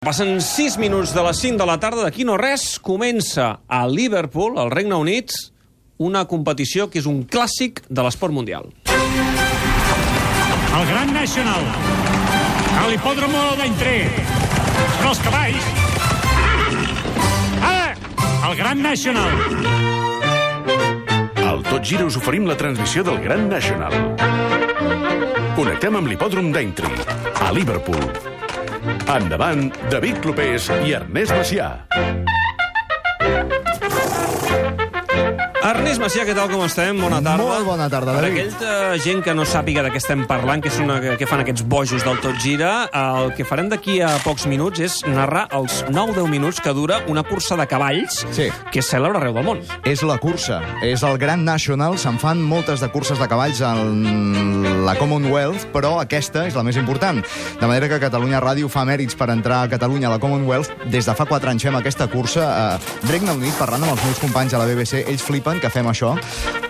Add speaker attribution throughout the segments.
Speaker 1: Passen 6 minuts de les 5 de la tarda, d'aquí no res, comença a Liverpool, al Regne Unit, una competició que és un clàssic de l'esport mundial.
Speaker 2: al Gran Nacional, a l'hipòdromo d'Entré, en els cavalls, ara, al Gran Nacional.
Speaker 3: Al Tot Gira us oferim la transmissió del Gran National. Connectem amb l'hipòdrom d'Entry, a Liverpool. Endavant, David Clopés i Ernest Macià.
Speaker 1: Ernest Macià, què tal, com estem? Bona tarda.
Speaker 4: Molt bona tarda,
Speaker 1: Per
Speaker 4: David.
Speaker 1: aquella gent que no sàpiga de què estem parlant, que, és una, que fan aquests bojos del Tot Gira, el que farem d'aquí a pocs minuts és narrar els 9-10 minuts que dura una cursa de cavalls
Speaker 4: Sí.
Speaker 1: que és cèlebre arreu del món.
Speaker 4: És la cursa, és el Grand National, se'n fan moltes de curses de cavalls en la Commonwealth, però aquesta és la més important. De manera que Catalunya Ràdio fa mèrits per entrar a Catalunya a la Commonwealth. Des de fa 4 anys fem aquesta cursa a Regne Unit, parlant amb els meus companys a la BBC, ells flipen que fem això,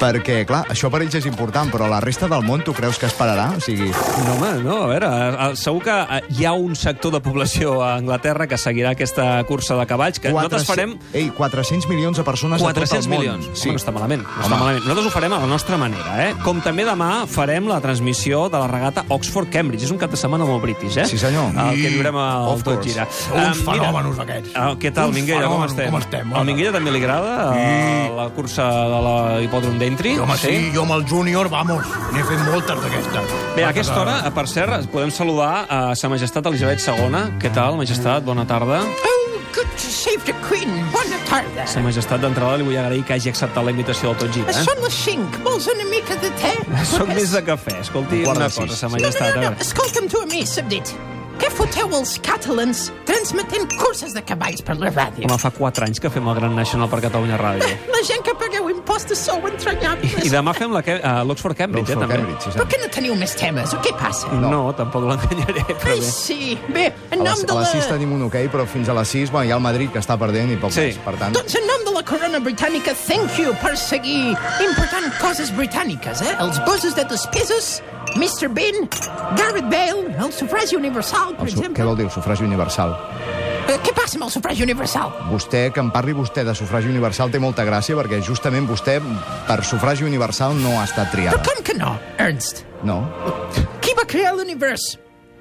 Speaker 4: perquè, clar, això per ells és important, però la resta del món tu creus que esperarà? O sigui,
Speaker 1: No, home, no, a veure, a- a- segur que a, hi ha un sector de població a Anglaterra que seguirà aquesta cursa de cavalls, que nosaltres farem
Speaker 4: Ei, 400 milions de persones a
Speaker 1: 400
Speaker 4: tot el món.
Speaker 1: milions.
Speaker 4: Sí.
Speaker 1: Sí. Home, no està malament, no està
Speaker 4: Home.
Speaker 1: malament. Nosaltres ho farem a la nostra manera, eh? Com també demà farem la transmissió de la regata Oxford-Cambridge. És un cap de setmana molt british, eh?
Speaker 4: Sí, senyor.
Speaker 1: El que viurem al
Speaker 4: Of
Speaker 1: Tot
Speaker 4: course.
Speaker 1: Gira.
Speaker 5: Uns
Speaker 1: Ah, mira,
Speaker 5: fenòmenos, aquests.
Speaker 1: ah, què tal,
Speaker 5: Uns
Speaker 1: Minguella, com
Speaker 5: fenòmenos,
Speaker 1: estem?
Speaker 5: com estem?
Speaker 1: Al Minguella també li agrada eh, la cursa de la hipòdrom d'Entry?
Speaker 5: Sí, home, sí, jo amb el júnior, vamos, n'he fet moltes d'aquestes.
Speaker 1: Bé, a aquesta hora, per cert, podem saludar a sa majestat Elisabet II. Què tal, majestat? Bona tarda.
Speaker 6: Oh, good to save the Queen. Bona tarda.
Speaker 1: Sa majestat, d'entrada li vull agrair que hagi acceptat la invitació del Tot Gira. Eh?
Speaker 6: Són les 5. Vols una mica de te?
Speaker 1: Soc més de cafè. Escolti,
Speaker 4: Guarda
Speaker 1: una
Speaker 4: sis.
Speaker 1: cosa, sa
Speaker 6: No, no,
Speaker 1: majestat.
Speaker 6: no,
Speaker 1: a
Speaker 6: no.
Speaker 1: veure.
Speaker 6: Escolta'm tu a mi, Sabdit. Què foteu els catalans transmetent curses de cavalls per la ràdio?
Speaker 1: Home, fa 4 anys que fem el Gran Nacional per Catalunya Ràdio.
Speaker 6: La gent que pagueu impostos sou
Speaker 1: I,
Speaker 6: entranyables.
Speaker 1: i demà fem la que- a l'Oxford Cambridge, eh,
Speaker 4: Oxford,
Speaker 1: també.
Speaker 4: Cambridge, sí,
Speaker 6: Per
Speaker 4: senyor.
Speaker 6: què no teniu més temes? O què passa?
Speaker 1: No, tampoc l'enganyaré, però
Speaker 6: Ai,
Speaker 1: bé.
Speaker 6: sí. Bé, en
Speaker 4: A
Speaker 6: nom
Speaker 4: les,
Speaker 6: de
Speaker 4: a
Speaker 6: la...
Speaker 4: les 6 tenim un hoquei, però fins a les 6 bueno, hi ha el Madrid que està perdent i poc
Speaker 1: Sí.
Speaker 4: més. Per tant,
Speaker 6: Doncs en nom de la corona britànica, thank you per seguir important coses britàniques, eh? Els busos de despeses, Mr. Bean, Garrett Bale, el sufragi universal, per
Speaker 4: el su...
Speaker 6: exemple.
Speaker 4: què vol dir el sufragi universal?
Speaker 6: Eh, Què passa amb el sufragi universal?
Speaker 4: Vostè, que em parli vostè de sufragi universal té molta gràcia perquè justament vostè per sufragi universal no ha
Speaker 6: Però Ah,
Speaker 4: estat triada.
Speaker 6: com que no, Ernst?
Speaker 4: No?
Speaker 6: Qui va crear l'univers?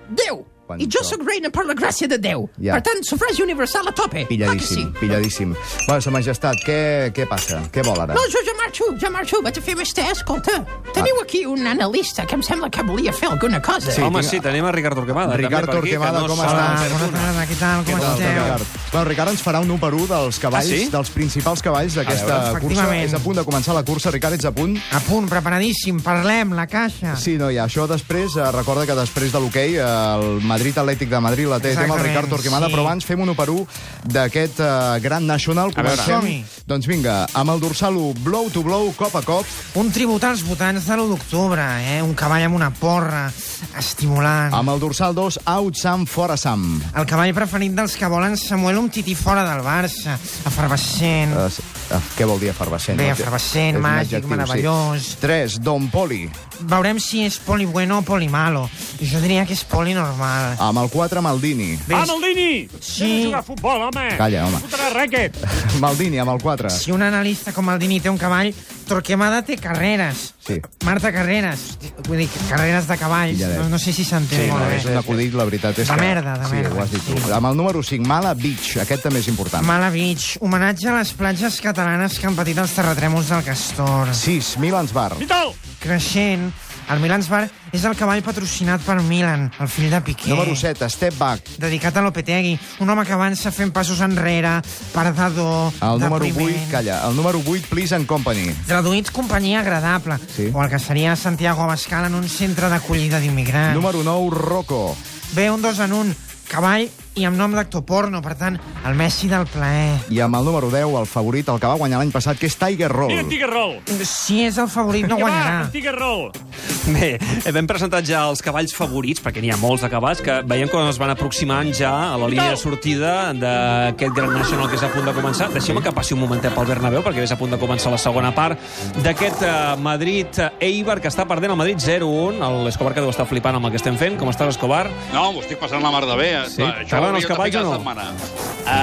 Speaker 6: Déu!
Speaker 4: Quan
Speaker 6: I jo
Speaker 4: jo-
Speaker 6: sóc reina per la gràcia de Déu.
Speaker 4: Ja.
Speaker 6: Per tant, sufragi universal a tope. Clar que sí.
Speaker 4: Pilladíssim, pilladíssim. Bueno, sa majestat, què, què passa? Què vol ara?
Speaker 6: No, jo ja marxo, ja marxo. Vaig a fer més te, escolta. Teniu aquí un analista que em sembla que volia fer alguna cosa.
Speaker 4: Sí,
Speaker 1: Home,
Speaker 4: tinc-
Speaker 1: sí, tenim a Ricard Torquemada.
Speaker 4: Ricard
Speaker 1: també per aquí, que
Speaker 4: Torquemada,
Speaker 1: no
Speaker 4: com
Speaker 1: s'ha
Speaker 4: estàs?
Speaker 1: perdut.
Speaker 7: Bona tarda, què tal? Com
Speaker 4: Què
Speaker 6: doncs,
Speaker 4: tal,
Speaker 6: eh,
Speaker 7: esteu?
Speaker 4: Ricard? Bueno, Ricard ens farà un 1 per 1 dels cavalls,
Speaker 1: Ah, sí?
Speaker 4: dels principals cavalls d'aquesta
Speaker 7: veure.
Speaker 4: cursa.
Speaker 7: Efectivament.
Speaker 4: És a punt de començar la cursa. Ricard, ets a punt?
Speaker 7: A punt, preparadíssim, parlem, la caixa.
Speaker 4: Ah. Sí, no, i això després, eh, recorda que després de l'hoquei eh, el Madrid Atlètic de Madrid la té tema el
Speaker 7: Exactament,
Speaker 4: Ricard Torquemada,
Speaker 7: sí.
Speaker 4: però abans fem un 1 per 1 d'aquest eh, Gran Nacional.
Speaker 7: veure. Som-hi.
Speaker 4: Doncs vinga, amb el dorsal 1, blow to blow, cop a cop.
Speaker 7: Un tribut als votants de l'1 d'octubre, eh? Un cavall amb una porra, estimulant.
Speaker 4: Amb el dorsal 2, out Sam, fora Sam.
Speaker 7: El cavall preferit dels que volen Samuel Umtiti fora del Barça, efervescent.
Speaker 4: Eh, s- eh, què vol dir efervescent?
Speaker 7: Bé,
Speaker 4: No té-
Speaker 7: efervescent,
Speaker 4: és un
Speaker 7: màgic,
Speaker 4: adjectiu,
Speaker 7: meravellós.
Speaker 4: Sí. 3, Don Poli.
Speaker 7: Veurem si és poli bueno o poli malo. Jo diria que és poli normal.
Speaker 4: Amb el 4, Maldini.
Speaker 7: Bé,
Speaker 2: Ah, Maldini!
Speaker 7: Sí.
Speaker 2: Vine a jugar a futbol, home!
Speaker 4: Calla, home.
Speaker 2: Fotrà ràquet!
Speaker 4: Maldini, amb el 4.
Speaker 7: si un analista com el Dini té un cavall, Torquemada té carreres.
Speaker 4: Sí.
Speaker 7: Marta, carreres. Vull dir, carreres de cavalls.
Speaker 4: Pilladet.
Speaker 7: No, no sé si s'entén
Speaker 4: Sí, no,
Speaker 7: molt bé.
Speaker 4: és un acudit, la veritat és
Speaker 7: De
Speaker 4: que...
Speaker 7: merda, de
Speaker 4: sí,
Speaker 7: merda,
Speaker 4: Ho has dit tu.
Speaker 7: sí.
Speaker 4: Amb el número 5, Mala Beach. Aquest també és important.
Speaker 7: Mala Beach, homenatge a les platges catalanes que han patit els terratrèmols del Castor.
Speaker 4: 6, Milans Bar.
Speaker 2: Vital!
Speaker 7: Creixent, el Milans Bar és el cavall patrocinat per Milan, el fill de Piqué.
Speaker 4: Número 7, Step Back.
Speaker 7: Dedicat a Lopetegui, un home que avança fent passos enrere, perdedor,
Speaker 4: El número 8,
Speaker 7: depriment.
Speaker 4: calla, el número 8, Please and Company.
Speaker 7: Traduït, companyia agradable.
Speaker 4: Sí.
Speaker 7: O el que seria Santiago Abascal en un centre d'acollida
Speaker 8: Ah.
Speaker 7: d'immigrants.
Speaker 4: Número 9, Rocco.
Speaker 7: Ve un dos en un, cavall i amb nom d'actor porno, per tant, el Messi del plaer.
Speaker 4: I amb el número 10, el favorit, el que va guanyar l'any passat, que és Tiger
Speaker 2: Mira en
Speaker 4: Roll.
Speaker 2: Tiger Roll!
Speaker 7: Si és el favorit, no
Speaker 2: Que va,
Speaker 7: guanyarà.
Speaker 2: en Tiger Roll!
Speaker 1: Bé, hem presentat ja els cavalls favorits, perquè n'hi ha molts de cavalls, que veiem com es van aproximant ja a la línia de sortida d'aquest Gran National que és a punt de començar. Deixem que passi un momentet pel Bernabéu, perquè és a punt de començar la segona part d'aquest eh, Madrid-Eibar, que està perdent el Madrid 0-1. L'Escobar que deu estar flipant amb el que estem fent. Com estàs, Escobar?
Speaker 9: No, m'ho estic passant la mar de bé.
Speaker 1: Sí?
Speaker 9: Això hauria
Speaker 1: T'agraden els
Speaker 9: de
Speaker 1: cavalls
Speaker 9: ficar
Speaker 1: o no?
Speaker 9: la setmana.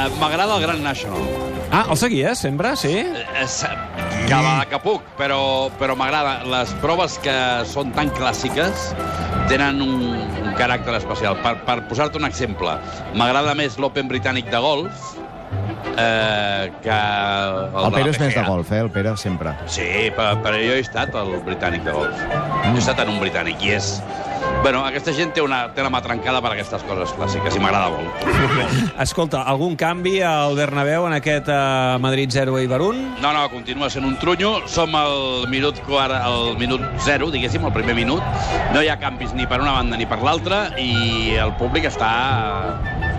Speaker 9: Eh, M'agrada el Gran National.
Speaker 1: Ah, el seguies, sempre? Sí?
Speaker 9: Eh, s- Que va, que puc, però, però m'agrada. Les proves que són tan clàssiques tenen un, un caràcter especial. Per, per posar-te un exemple, m'agrada més l'Open britànic de golf eh, que el,
Speaker 4: El
Speaker 9: de
Speaker 4: Pere
Speaker 9: la
Speaker 4: és més de
Speaker 9: PGA.
Speaker 4: golf, eh? El Pere sempre.
Speaker 9: Sí, però, però jo he estat al britànic de golf. Jo he estat en un britànic i és... Bueno, aquesta gent té, una, té la mà trencada per aquestes coses clàssiques i m'agrada molt.
Speaker 1: Escolta, algun canvi al Bernabéu en aquest eh, Madrid 0-Eibar 1?
Speaker 9: No, no, continua sent un trunyo. Som al minut, quart, al minut zero, diguéssim, el primer minut. No hi ha canvis ni per una banda ni per l'altra i el públic està,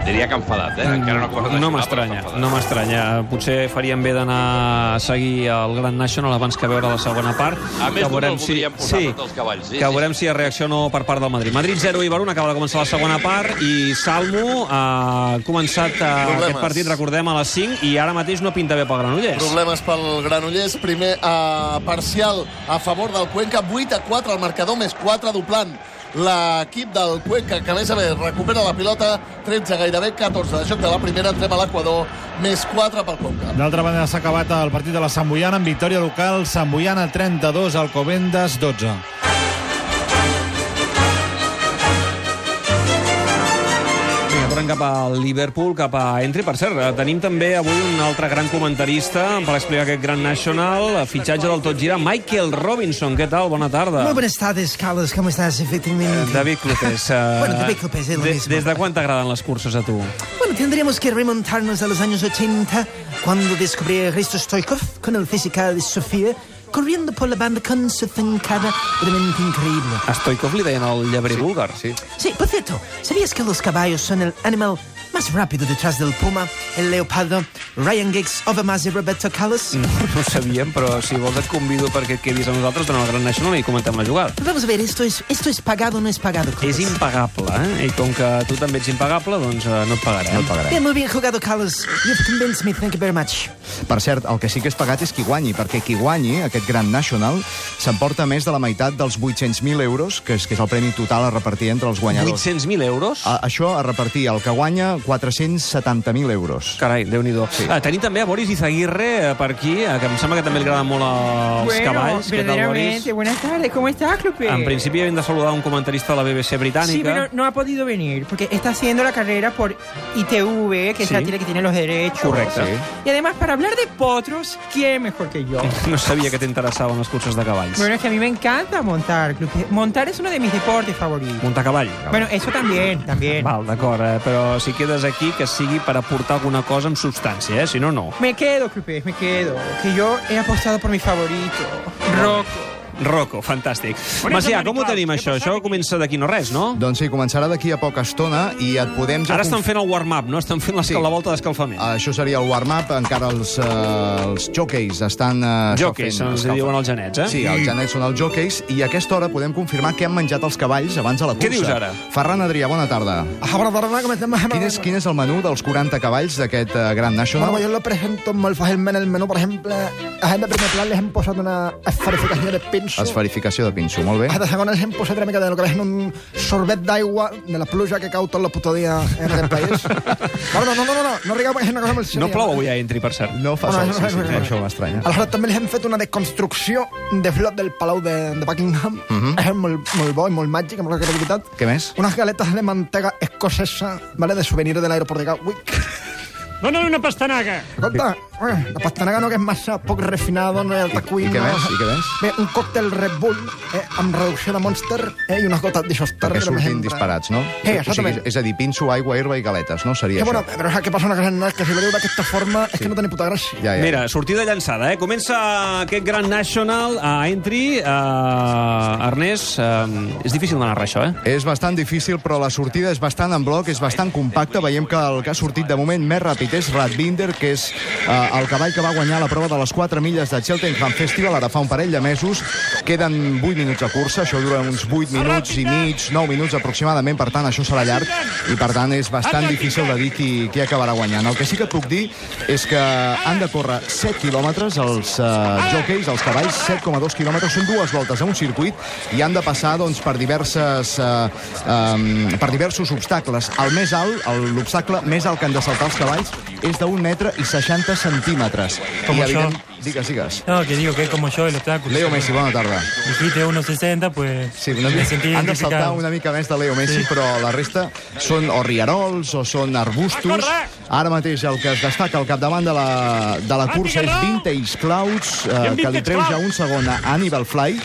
Speaker 9: diria que enfadat, eh? Encara no ha començat a
Speaker 1: Mm,
Speaker 9: xiular, però
Speaker 1: No
Speaker 9: està
Speaker 1: m'estranya,
Speaker 9: enfadat.
Speaker 1: no m'estranya. Potser faríem bé d'anar a seguir el Grand National abans que veure la segona part.
Speaker 9: A més,
Speaker 1: que veurem
Speaker 9: no el voldríem posar
Speaker 1: sí,
Speaker 9: tots els cavalls, sí,
Speaker 1: que
Speaker 9: sí,
Speaker 1: veurem si hi ha reacció o no per part del Madrid. Madrid 0 i Barun acaba de començar la segona part i Salmo eh, ha començat eh, aquest
Speaker 10: Problemes.
Speaker 1: partit, recordem, a les 5 i ara mateix no pinta bé pel Granollers.
Speaker 10: Problemes pel Granollers. Primer eh, parcial a favor del Cuenca. 8 a 4 al marcador, més 4 doblant l'equip del Cuenca, que a més a més recupera la pilota, 13 gairebé, 14 de joc de la primera, entrem a l'Equador, més 4 pel Cuenca.
Speaker 8: D'altra banda, s'ha acabat el partit de la Samboyana amb victòria local. Samboyana 32, Alcobendas 12.
Speaker 1: Vinga, tornem cap al Liverpool, cap a Entry. Per cert, eh, tenim també avui un altre gran comentarista per explicar aquest gran nacional, fitxatge del tot gira, Michael Robinson. Què tal? Bona tarda.
Speaker 7: Muy buenas tardes, Carlos. ¿Cómo estás? Efectivamente.
Speaker 1: David Clupés. eh,
Speaker 7: Bueno, David Clupés és lo
Speaker 1: de-
Speaker 7: mismo.
Speaker 1: Des de quan t'agraden les curses a tu?
Speaker 7: Bueno, tendríamos que remontarnos a los años 80, cuando descubrí a Risto Stoikov con el física de Sofía, corriendo por la banda con su zancada realmente increíble.
Speaker 1: A Stoikov li deien el llebrer sí, búlgar. Sí.
Speaker 7: Sí, por cierto, ¿sabías que los caballos son el animal más rápido detrás del puma, el leopardo, Ryan Giggs, Overmars y Roberto Carlos?
Speaker 1: No ho sabíem, però si vols et convido perquè et quedis amb nosaltres durant el Gran National i comentem la jugada.
Speaker 7: Pero Vamos a ver, ¿esto es, esto es pagado o no es pagado,
Speaker 1: És
Speaker 7: Carlos?
Speaker 1: impagable, eh? I com que tu també ets impagable, doncs eh, no et pagarem. No et pagarem.
Speaker 7: Bien, muy bien jugado, Carlos. You've convinced me. Thank you very much.
Speaker 4: Per cert, el que sí que és pagat és qui guanyi, perquè qui guanyi aquest Gran National s'emporta més de la meitat dels 800.000 euros, que és, que és el premi total a repartir entre els guanyadors.
Speaker 1: 800.000 euros?
Speaker 4: A, això a repartir, el que guanya 470.000 euros.
Speaker 1: Carai, déu nhi sí. ah, Tenim també a Boris Izaguirre eh, per aquí, eh, que em sembla que també li agraden molt els cavalls. Què tal, Boris?
Speaker 11: verdaderamente. Buenas tardes, ¿cómo estás, Clupe?
Speaker 1: En principi hem de saludar un comentarista de la BBC britànica.
Speaker 11: Sí, pero no ha podido venir porque está haciendo la carrera por ITV, que es
Speaker 1: Sí.
Speaker 11: la tira que tiene los derechos.
Speaker 1: Correcto. Sí.
Speaker 11: Y además, para hablar de potros, ¿quién mejor que yo?
Speaker 1: No sabia que t'interessaven les curses de cavalls.
Speaker 11: Bueno, es que a mí me encanta montar, Clupe. Montar es uno de mis deportes favoritos.
Speaker 1: Muntar cavall.
Speaker 11: Bueno, eso también, también.
Speaker 1: Val, d'acord, eh? però si quedes aquí que sigui per aportar alguna cosa amb substància, eh? si no, no.
Speaker 11: Me quedo, Clupe, me quedo. Que yo he apostado por mi favorito, Rocco.
Speaker 1: Rocco, fantàstic.
Speaker 11: Bona
Speaker 1: Macià,
Speaker 11: tarda,
Speaker 1: com ho
Speaker 11: Nicolau.
Speaker 1: tenim,
Speaker 11: Què
Speaker 1: això?
Speaker 11: passa?
Speaker 1: Això comença d'aquí no res, no?
Speaker 4: Doncs sí, començarà d'aquí a poca estona i et podem... Ja
Speaker 1: Ara
Speaker 4: Doncs conf-
Speaker 1: estan fent el warm-up, no? Estan fent l'esca-
Speaker 4: Sí. Ah,
Speaker 1: la volta d'escalfament.
Speaker 4: Això seria el warm-up, encara els, eh, els jockeys estan... Eh, això
Speaker 1: Jockeys,
Speaker 4: fent
Speaker 1: se'ls
Speaker 4: escalfa-
Speaker 1: diuen els genets, eh?
Speaker 4: Sí, els genets són els jockeys, i a aquesta hora podem confirmar què han menjat els cavalls abans de la
Speaker 1: Què
Speaker 4: cursa.
Speaker 1: dius ara?
Speaker 4: Ferran Adrià, bona tarda.
Speaker 5: Ahora, ahora, que me están
Speaker 4: Quin és, quin és el menú dels 40 cavalls d'aquest eh, Gran National?
Speaker 5: Bueno, yo lo presento muy fácilmente en el menú, por ejemplo, a gente primer plan les han posado una esferificación de pinso.
Speaker 4: Esferificació de pinso, molt bé.
Speaker 5: A de segon les hem posat una mica de lo que és un sorbet d'aigua de la pluja que cau tot el puto dia en aquest país. No, no, no, no, no, no, no rigueu perquè és una cosa molt
Speaker 1: No
Speaker 5: seria.
Speaker 1: plou avui a Entry, per cert.
Speaker 4: No fa sol,
Speaker 5: Bueno, no,
Speaker 4: sí,
Speaker 5: no,
Speaker 4: sí,
Speaker 5: no,
Speaker 4: per
Speaker 5: no.
Speaker 4: això m'estranya.
Speaker 5: Aleshores també li hem fet una desconstrucció de flot del Palau de, de Buckingham.
Speaker 1: Mhm.
Speaker 5: És molt, molt bo i molt màgic, amb la creativitat.
Speaker 4: Què més?
Speaker 5: Unes galetes de mantega escocesa, vale, de souvenir de l'aeroport de Gatwick.
Speaker 2: Dóna'm una pastanaga.
Speaker 5: Escolta, eh, la pastanaga no, que és massa poc refinada, no hi ha alta
Speaker 4: I
Speaker 5: cuina.
Speaker 4: què més? I què més?
Speaker 5: Bé, un còctel Red Bull eh, amb reducció de Monster eh, i unes gotes d'Isoster.
Speaker 4: Perquè surtin disparats, no?
Speaker 5: Eh,
Speaker 4: o sigui,
Speaker 5: exactament.
Speaker 4: és a dir, pinso, aigua, herba i galetes, no? Seria
Speaker 5: Que bueno,
Speaker 4: això.
Speaker 5: però és que passa una cosa, no, és que si ho diu d'aquesta forma és que no té ni puta gràcia.
Speaker 4: Ja, ja.
Speaker 1: Mira, sortida llançada, eh? Comença aquest Gran National a Entry. Uh, Ernest, uh, és difícil d'anar això, eh?
Speaker 4: És bastant difícil, però la sortida és bastant en bloc, és bastant compacta. Veiem que el que ha sortit de moment més ràpid és Radbinder, que és eh, el cavall que va guanyar la prova de les 4 milles de Cheltenham Festival ara fa un parell de mesos. Queden 8 minuts de cursa, això dura uns 8 minuts i mig, 9 minuts aproximadament, per tant això serà llarg i per tant és bastant difícil de dir qui, qui acabarà guanyant. El que sí que et puc dir és que han de córrer 7 quilòmetres els eh, jockeys, els cavalls, 7,2 quilòmetres, són dues voltes a un circuit i han de passar doncs, per, diverses, eh, eh, per diversos obstacles. El més alt, el- l'obstacle més alt que han de saltar els cavalls és d'un metre i 60 centímetres.
Speaker 12: Com
Speaker 4: I,
Speaker 12: això.
Speaker 4: Digues, digues.
Speaker 12: No, que digo que es como yo el obstáculo.
Speaker 4: Leo Messi, buena tarde.
Speaker 12: Dijiste 1.60, pues
Speaker 4: Sí, una
Speaker 12: me
Speaker 4: mica,
Speaker 12: sentí
Speaker 4: han de saltar
Speaker 12: identificado.
Speaker 4: una mica més de Leo Messi, sí. però la resta són o rierols o són arbustos. Ara mateix el que es destaca al capdavant de la, de la cursa és Vintage Clouds, eh, que li treu ja un segon a Hannibal Fly,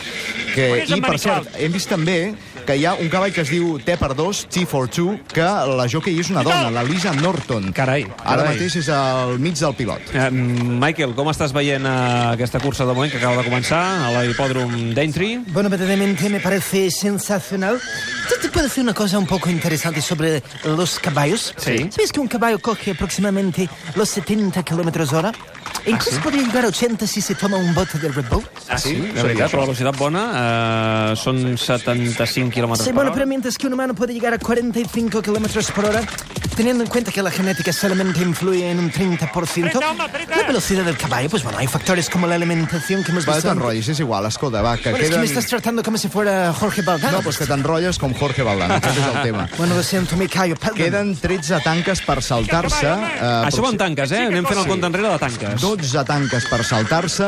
Speaker 4: que, i per cert, hem vist també que hi ha un cavall que es diu T2, T42, que la jockey és una dona, la Lisa Norton.
Speaker 1: Carai,
Speaker 4: Ara
Speaker 1: carai.
Speaker 4: mateix és al mig del pilot.
Speaker 1: Eh, Michael, com estàs veient eh, aquesta cursa de moment que acaba de començar a l'hipòdrom d'Entry?
Speaker 7: Bueno, verdaderamente me parece sensacional. ¿Yo te puedo decir una cosa un poco interesante sobre los caballos?
Speaker 1: Sí.
Speaker 7: ¿Sabes que un caballo coge aproximadamente los 70 kilómetros hora? E
Speaker 4: ¿Ah,
Speaker 7: incluso podría llegar a 80 si se toma un bote de Red Bull.
Speaker 1: Ah, sí?
Speaker 7: Sí,
Speaker 1: De veritat,
Speaker 7: sí.
Speaker 1: però la velocitat bona eh, són 75 km
Speaker 7: Sí,
Speaker 1: per
Speaker 7: bueno,
Speaker 1: hora.
Speaker 7: pero mientras que un humano puede llegar a 45 kilómetros por hora, teniendo en cuenta que la genética solamente influye en un 30%, la velocidad del caballo, pues bueno, hay factores como la alimentación que hemos
Speaker 4: Va,
Speaker 7: visto.
Speaker 4: t'enrotllis, és igual, escolta, va, que
Speaker 7: Bueno, es que
Speaker 4: queden...
Speaker 7: me estás tratando como si fuera Jorge Valdano.
Speaker 4: No, pues que t'enrotlles com Jorge Valdano, aquest és el tema.
Speaker 7: Bueno, lo siento, me callo. Perdón.
Speaker 4: Queden 13 tanques per saltar-se. Eh,
Speaker 1: Això va amb tanques, eh? Anem fent el
Speaker 4: Sí.
Speaker 1: compte enrere de tanques.
Speaker 4: 12 tanques per saltar-se.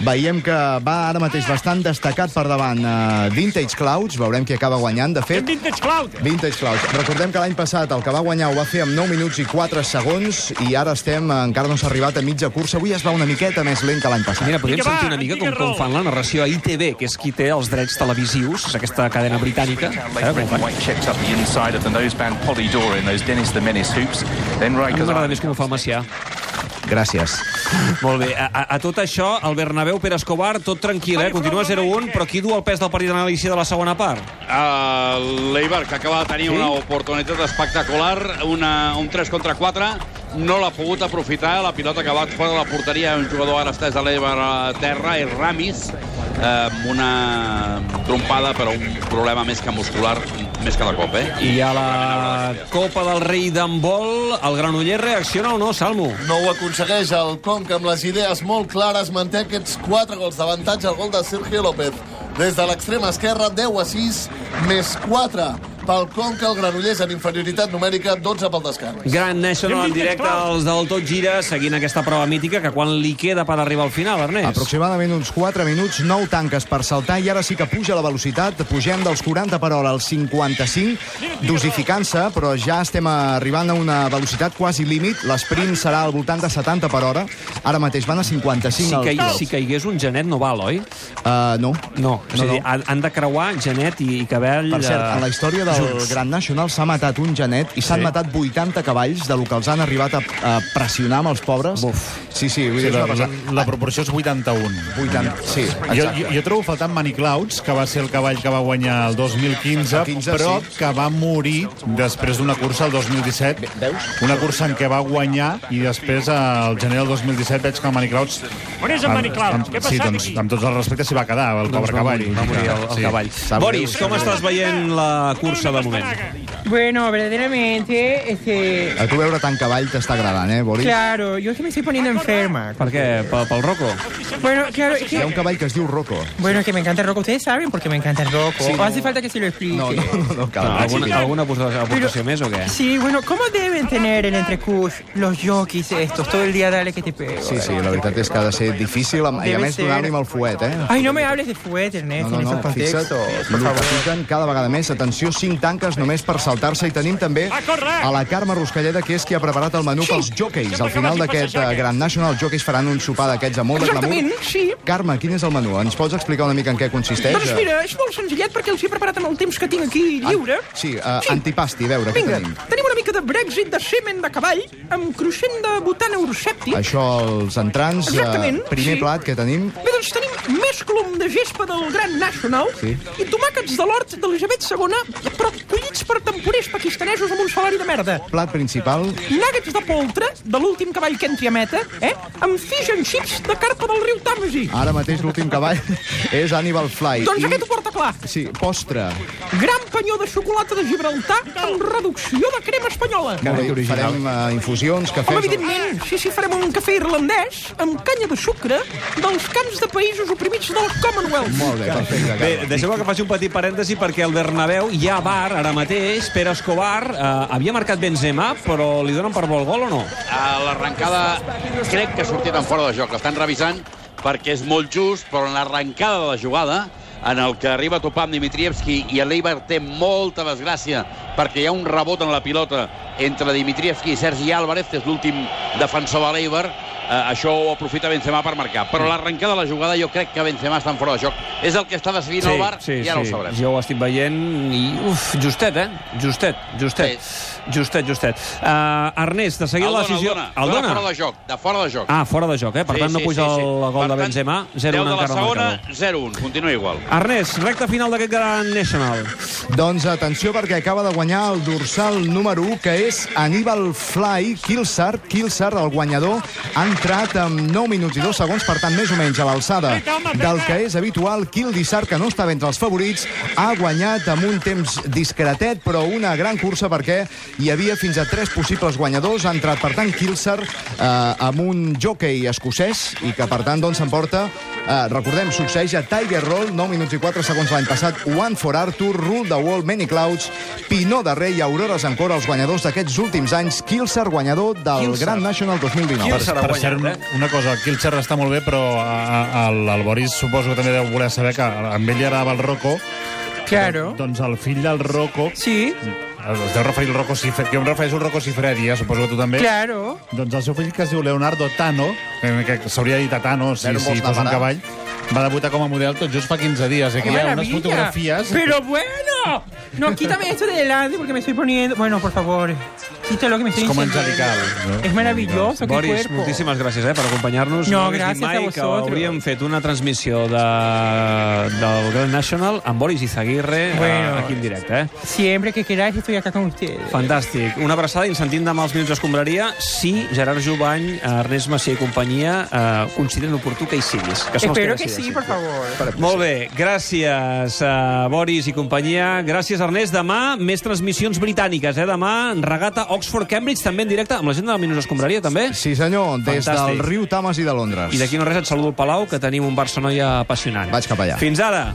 Speaker 4: Veiem que va ara mateix bastant destacat per davant eh, Vintage Clouds. Veurem qui acaba guanyant, de fet.
Speaker 2: Vintage Cloud.
Speaker 4: Vintage Clouds. Recordem que l'any passat el que va guanyar ho va fer amb 9 minuts i 4 segons i ara estem, eh, encara no s'ha arribat a mitja cursa. Avui es va una miqueta més lent que l'any passat.
Speaker 1: Mira, podríem sentir una mica com, com fan la narració a ITV, que és qui té els drets televisius, és aquesta cadena britànica. Eh, com ho fan?
Speaker 13: White checks up the inside of the noseband Polydora in those Dennis the Menace hoops. Then
Speaker 1: A mi
Speaker 13: Riker's
Speaker 1: m'agrada més com ho fa el Macià.
Speaker 4: Gràcies.
Speaker 1: Molt bé. A, a, a tot això, el Bernabéu, Pere Escobar, tot tranquil, eh? Continua 0-1, però qui du el pes del partit d'anàlisi de la segona part?
Speaker 9: Uh, L'Eibar, que acaba de tenir sí? una oportunitat espectacular, una, un 3 contra 4, no l'ha pogut aprofitar, la pilota que va fora de la porteria, un jugador ara estès de l'Eibar a terra, és Ramis, eh, amb una trompada, però un problema més que muscular, més que de cop, eh?
Speaker 1: I a la Copa del Rei d'Handbol, el Granoller reacciona o no, Salmo?
Speaker 10: No ho aconsegueix el Conca amb les idees molt clares, manté aquests 4 gols d'avantatge al gol de Sergio López. Des de l'extrema esquerra, 10 a 6, més 4 pel Conca, el Granollers en inferioritat numèrica, 12 pel descans.
Speaker 1: Gran National en directe als del Tot Gira, seguint aquesta prova mítica, que quan li queda per arribar al final, Ernest?
Speaker 4: Aproximadament uns 4 minuts, 9 tanques per saltar i ara sí que puja la velocitat, pugem dels 40 per hora als 55, dosificant-se, però ja estem arribant a una velocitat quasi límit, l'esprint serà al voltant de 70 per hora, ara mateix van a 55
Speaker 1: Si, que,
Speaker 4: els
Speaker 1: si que hi hagués un genet no val, oi?
Speaker 4: Uh, no.
Speaker 1: No, o sigui,
Speaker 4: no.
Speaker 1: han- han de creuar genet i, i cabell...
Speaker 4: Per cert,
Speaker 1: eh,
Speaker 4: a la història del
Speaker 1: junts.
Speaker 4: Gran Nacional s'ha matat un genet i s'han
Speaker 1: Sí.
Speaker 4: matat 80 cavalls de lo que els han arribat a, a pressionar amb els pobres. Buf. Sí, sí, vull
Speaker 8: Sí,
Speaker 4: dir,
Speaker 8: la,
Speaker 4: és una
Speaker 8: la,
Speaker 4: passada.
Speaker 8: la proporció és 81.
Speaker 4: 80, sí,
Speaker 8: jo,
Speaker 4: exacte.
Speaker 8: jo, jo trobo faltant Manny Clouds, que va ser el cavall que va guanyar el 2015,
Speaker 4: 15,
Speaker 8: però
Speaker 4: sí.
Speaker 8: que va morir després d'una cursa el 2017. Una cursa en què va guanyar i després eh, al gener del 2017 veig que el Manny Clouds...
Speaker 2: On és el
Speaker 8: amb-
Speaker 2: Manny Clouds?
Speaker 8: amb-
Speaker 2: Què ha
Speaker 8: Sí,
Speaker 2: passat
Speaker 8: doncs,
Speaker 2: aquí?
Speaker 8: amb tots els respectes s'hi va quedar, el
Speaker 1: Doncs
Speaker 8: pobre
Speaker 1: va
Speaker 8: cavall.
Speaker 1: morir, va morir el- el cavall.
Speaker 8: Sap
Speaker 1: Boris,
Speaker 8: greu.
Speaker 1: com estàs veient la cursa de moment?
Speaker 11: Bueno, verdaderamente, este,
Speaker 4: A tu veure tant cavall t'està agradant, eh, Boris?
Speaker 11: claro, yo es que me estoy
Speaker 4: Ah,
Speaker 11: poniendo enferma.
Speaker 1: Per què? Pel, pel Rocco?
Speaker 11: Bueno, claro, es
Speaker 4: Hi ha
Speaker 11: que,
Speaker 4: un cavall que es diu Rocco.
Speaker 11: bueno, es que me encanta el rock. Ustedes saben por qué me encanta el rock.
Speaker 4: Sí,
Speaker 11: o
Speaker 4: no.
Speaker 11: hace falta que se lo explique.
Speaker 4: No, no, no, no cal.
Speaker 1: No, alguna, alguna aportació, aportació més o què?
Speaker 11: Sí, bueno, ¿cómo deben tener el entrecus los jockeys estos? Todo el día dale que te pego.
Speaker 4: Sí, sí, la veritat és que ha de ser difícil, amb- i a
Speaker 11: Debe
Speaker 4: més
Speaker 11: ser.
Speaker 4: donar-li amb el fuet, eh?
Speaker 11: Ay, no me hables de fuete, Ernesto, en esos
Speaker 4: fixa't,
Speaker 11: contextos.
Speaker 4: el que fiquen cada vegada més. Atenció, 5 tanques només per saltar-se. I tenim també a la Carme Ruscalleda, que és qui ha preparat el menú pels jockeys. Al final d'aquest eh, Grand National, els jockeys faran un sopar d'aquests amb molt de
Speaker 11: Exactament,
Speaker 4: glamour.
Speaker 11: sí.
Speaker 4: Carme, quin és el menú? Ens pots explicar una mica en què consisteix?
Speaker 11: Doncs mira, és molt senzillet perquè els he preparat en el temps que tinc aquí lliure.
Speaker 4: Sí, eh, antipasti, a veure, què
Speaker 11: Vinga,
Speaker 4: tenim?
Speaker 11: tenim una mica de Brexit de semen de cavall amb cruixent de botana eurosèptic.
Speaker 4: Això, els entrants, eh,
Speaker 11: Exactament,
Speaker 4: primer
Speaker 11: sí.
Speaker 4: plat que tenim...
Speaker 11: Bé, doncs tenim més
Speaker 6: més colom de gespa del Gran Nacional sí. i tomàquets de l'hort d'Elisabet II, però collits per temporers pakistanesos amb un salari de merda.
Speaker 4: Plat principal,
Speaker 6: Nuggets de poltre de l'últim cavall que entri a meta, eh? amb fish and chips de carpa del riu Tàmesi.
Speaker 4: ara mateix l'últim cavall, és Hannibal Fly.
Speaker 6: Doncs aquest ho porta clar.
Speaker 4: Sí, postre.
Speaker 6: Gran panyó de xocolata de Gibraltar amb reducció de crema espanyola.
Speaker 4: Farem, farem eh, infusions,
Speaker 6: Home,
Speaker 4: cafès...
Speaker 6: evidentment, sí, sí, farem un cafè irlandès amb canya de sucre dels camps de països oprimits del Commonwealth.
Speaker 4: Molt bé, perfecte.
Speaker 1: Bé, deixeu-me que faci un petit parèntesi perquè el Bernabéu hi ha bar ara mateix. Pere Escobar eh, havia marcat Benzema, però li donen per vol gol o no?
Speaker 9: A l'arrencada crec que ha sortit en fora de joc. L'estan revisant perquè és molt just, però en l'arrencada de la jugada, en el que arriba a topar amb Dimitrievski i l'Eibar té molta desgràcia perquè hi ha un rebot en la pilota entre Dimitrievski i Sergi Álvarez, que és l'últim defensor de l'Eibar, eh, això ho aprofita Benzema per marcar. Però l'arrencada de la jugada jo crec que Benzema està en fora de joc. És el que està decidint el VAR i ara ho sabrem.
Speaker 1: Jo ho estic veient i... Uf, justet, eh? Justet, justet. Justet, justet. Uh, Ernest, de seguida la decisió...
Speaker 9: dona, el dona. fora de joc, de fora de joc.
Speaker 1: Ah, fora de joc, eh? Per tant, no puja el gol de Benzema.
Speaker 9: 0
Speaker 1: 0-1
Speaker 9: de la
Speaker 1: encara al
Speaker 9: segona,
Speaker 1: marcador.
Speaker 9: 0-1. Continua igual.
Speaker 1: Ernest, recta final d'aquest gran National.
Speaker 4: Doncs atenció perquè acaba de guanyar el dorsal número 1, que és Aníbal Fly Kilsart. Kilsart, el guanyador, ha entrat amb 9 minuts i 2 segons, per tant, més o menys a l'alçada del que és habitual. Kildissart, que no estava entre els favorits, ha guanyat amb un temps discretet, però una gran cursa perquè hi havia fins a 3 possibles guanyadors. Ha entrat, per tant, Kilsart eh, amb un jockey escocès i que, per tant, doncs, s'emporta Eh, recordem, succeeix a Tiger Roll, 9 minuts i 4 segons l'any passat, One for Arthur, Rule the Wall, Many Clouds, Pinó de Rei i Aurores Ancora, els guanyadors d'aquests últims anys, Kilser, guanyador del
Speaker 8: Kilser.
Speaker 4: Grand National 2019.
Speaker 8: per, per cert, una cosa, aquí el Xerra està molt bé, però a, a, el, el Boris suposo que també deu voler saber que amb ell agradava el Rocco.
Speaker 11: Claro.
Speaker 8: Doncs, doncs el fill del Rocco...
Speaker 11: Sí.
Speaker 8: Es deu referir al Rocco Cifre... Jo em refereixo al Rocco Cifredi, eh? suposo que tu també.
Speaker 11: Claro.
Speaker 8: Doncs el seu fill, que es diu Leonardo Tano, eh, que s'hauria dit a Tano si,
Speaker 11: Era un
Speaker 8: si
Speaker 11: boig
Speaker 8: fos un
Speaker 11: d'amarat.
Speaker 8: cavall, va debutar com a model tot just fa 15 dies. Eh? Que hi ha unes
Speaker 11: maravilla!
Speaker 8: fotografies...
Speaker 11: Pero bueno, no quítame esto de delante porque me estoy poniendo. Bueno, por favor, quita lo que me estoy
Speaker 1: Es como
Speaker 11: diciendo.
Speaker 1: angelical, ¿no?
Speaker 11: Es maravilloso, qué
Speaker 1: Boris,
Speaker 11: cuerpo.
Speaker 1: moltíssimes gràcies eh, per acompanyar-nos.
Speaker 11: No,
Speaker 1: hagués dit
Speaker 11: gràcies
Speaker 1: mai
Speaker 11: a vosotros.
Speaker 1: Que hauríem fet una transmissió de, del Grand National amb Boris Izaguirre bueno.
Speaker 11: Bueno.
Speaker 1: aquí en directe. Eh?
Speaker 11: Siempre que queráis estoy acá con ustedes.
Speaker 1: Fantàstic. Una abraçada i ens sentim demà als Minuts d'Escombraria si Gerard Jubany, eh, Ernest Macià i companyia eh, consideren oportú que hi siguis. Que som els
Speaker 11: Espero que
Speaker 1: decideixen.
Speaker 11: sí, por favor.
Speaker 1: Molt bé, gràcies a Boris i companyia. Gràcies, Ernest. Demà, més transmissions britàniques, eh? Demà, regata Oxford-Cambridge, també en directe, amb la gent de la Minus Escombraria, també.
Speaker 4: Sí, senyor, des del riu Tames i de Londres.
Speaker 1: I d'aquí no res et saludo al Palau, que tenim un Barça-Noia apassionant.
Speaker 4: Vaig cap allà.
Speaker 1: Fins ara.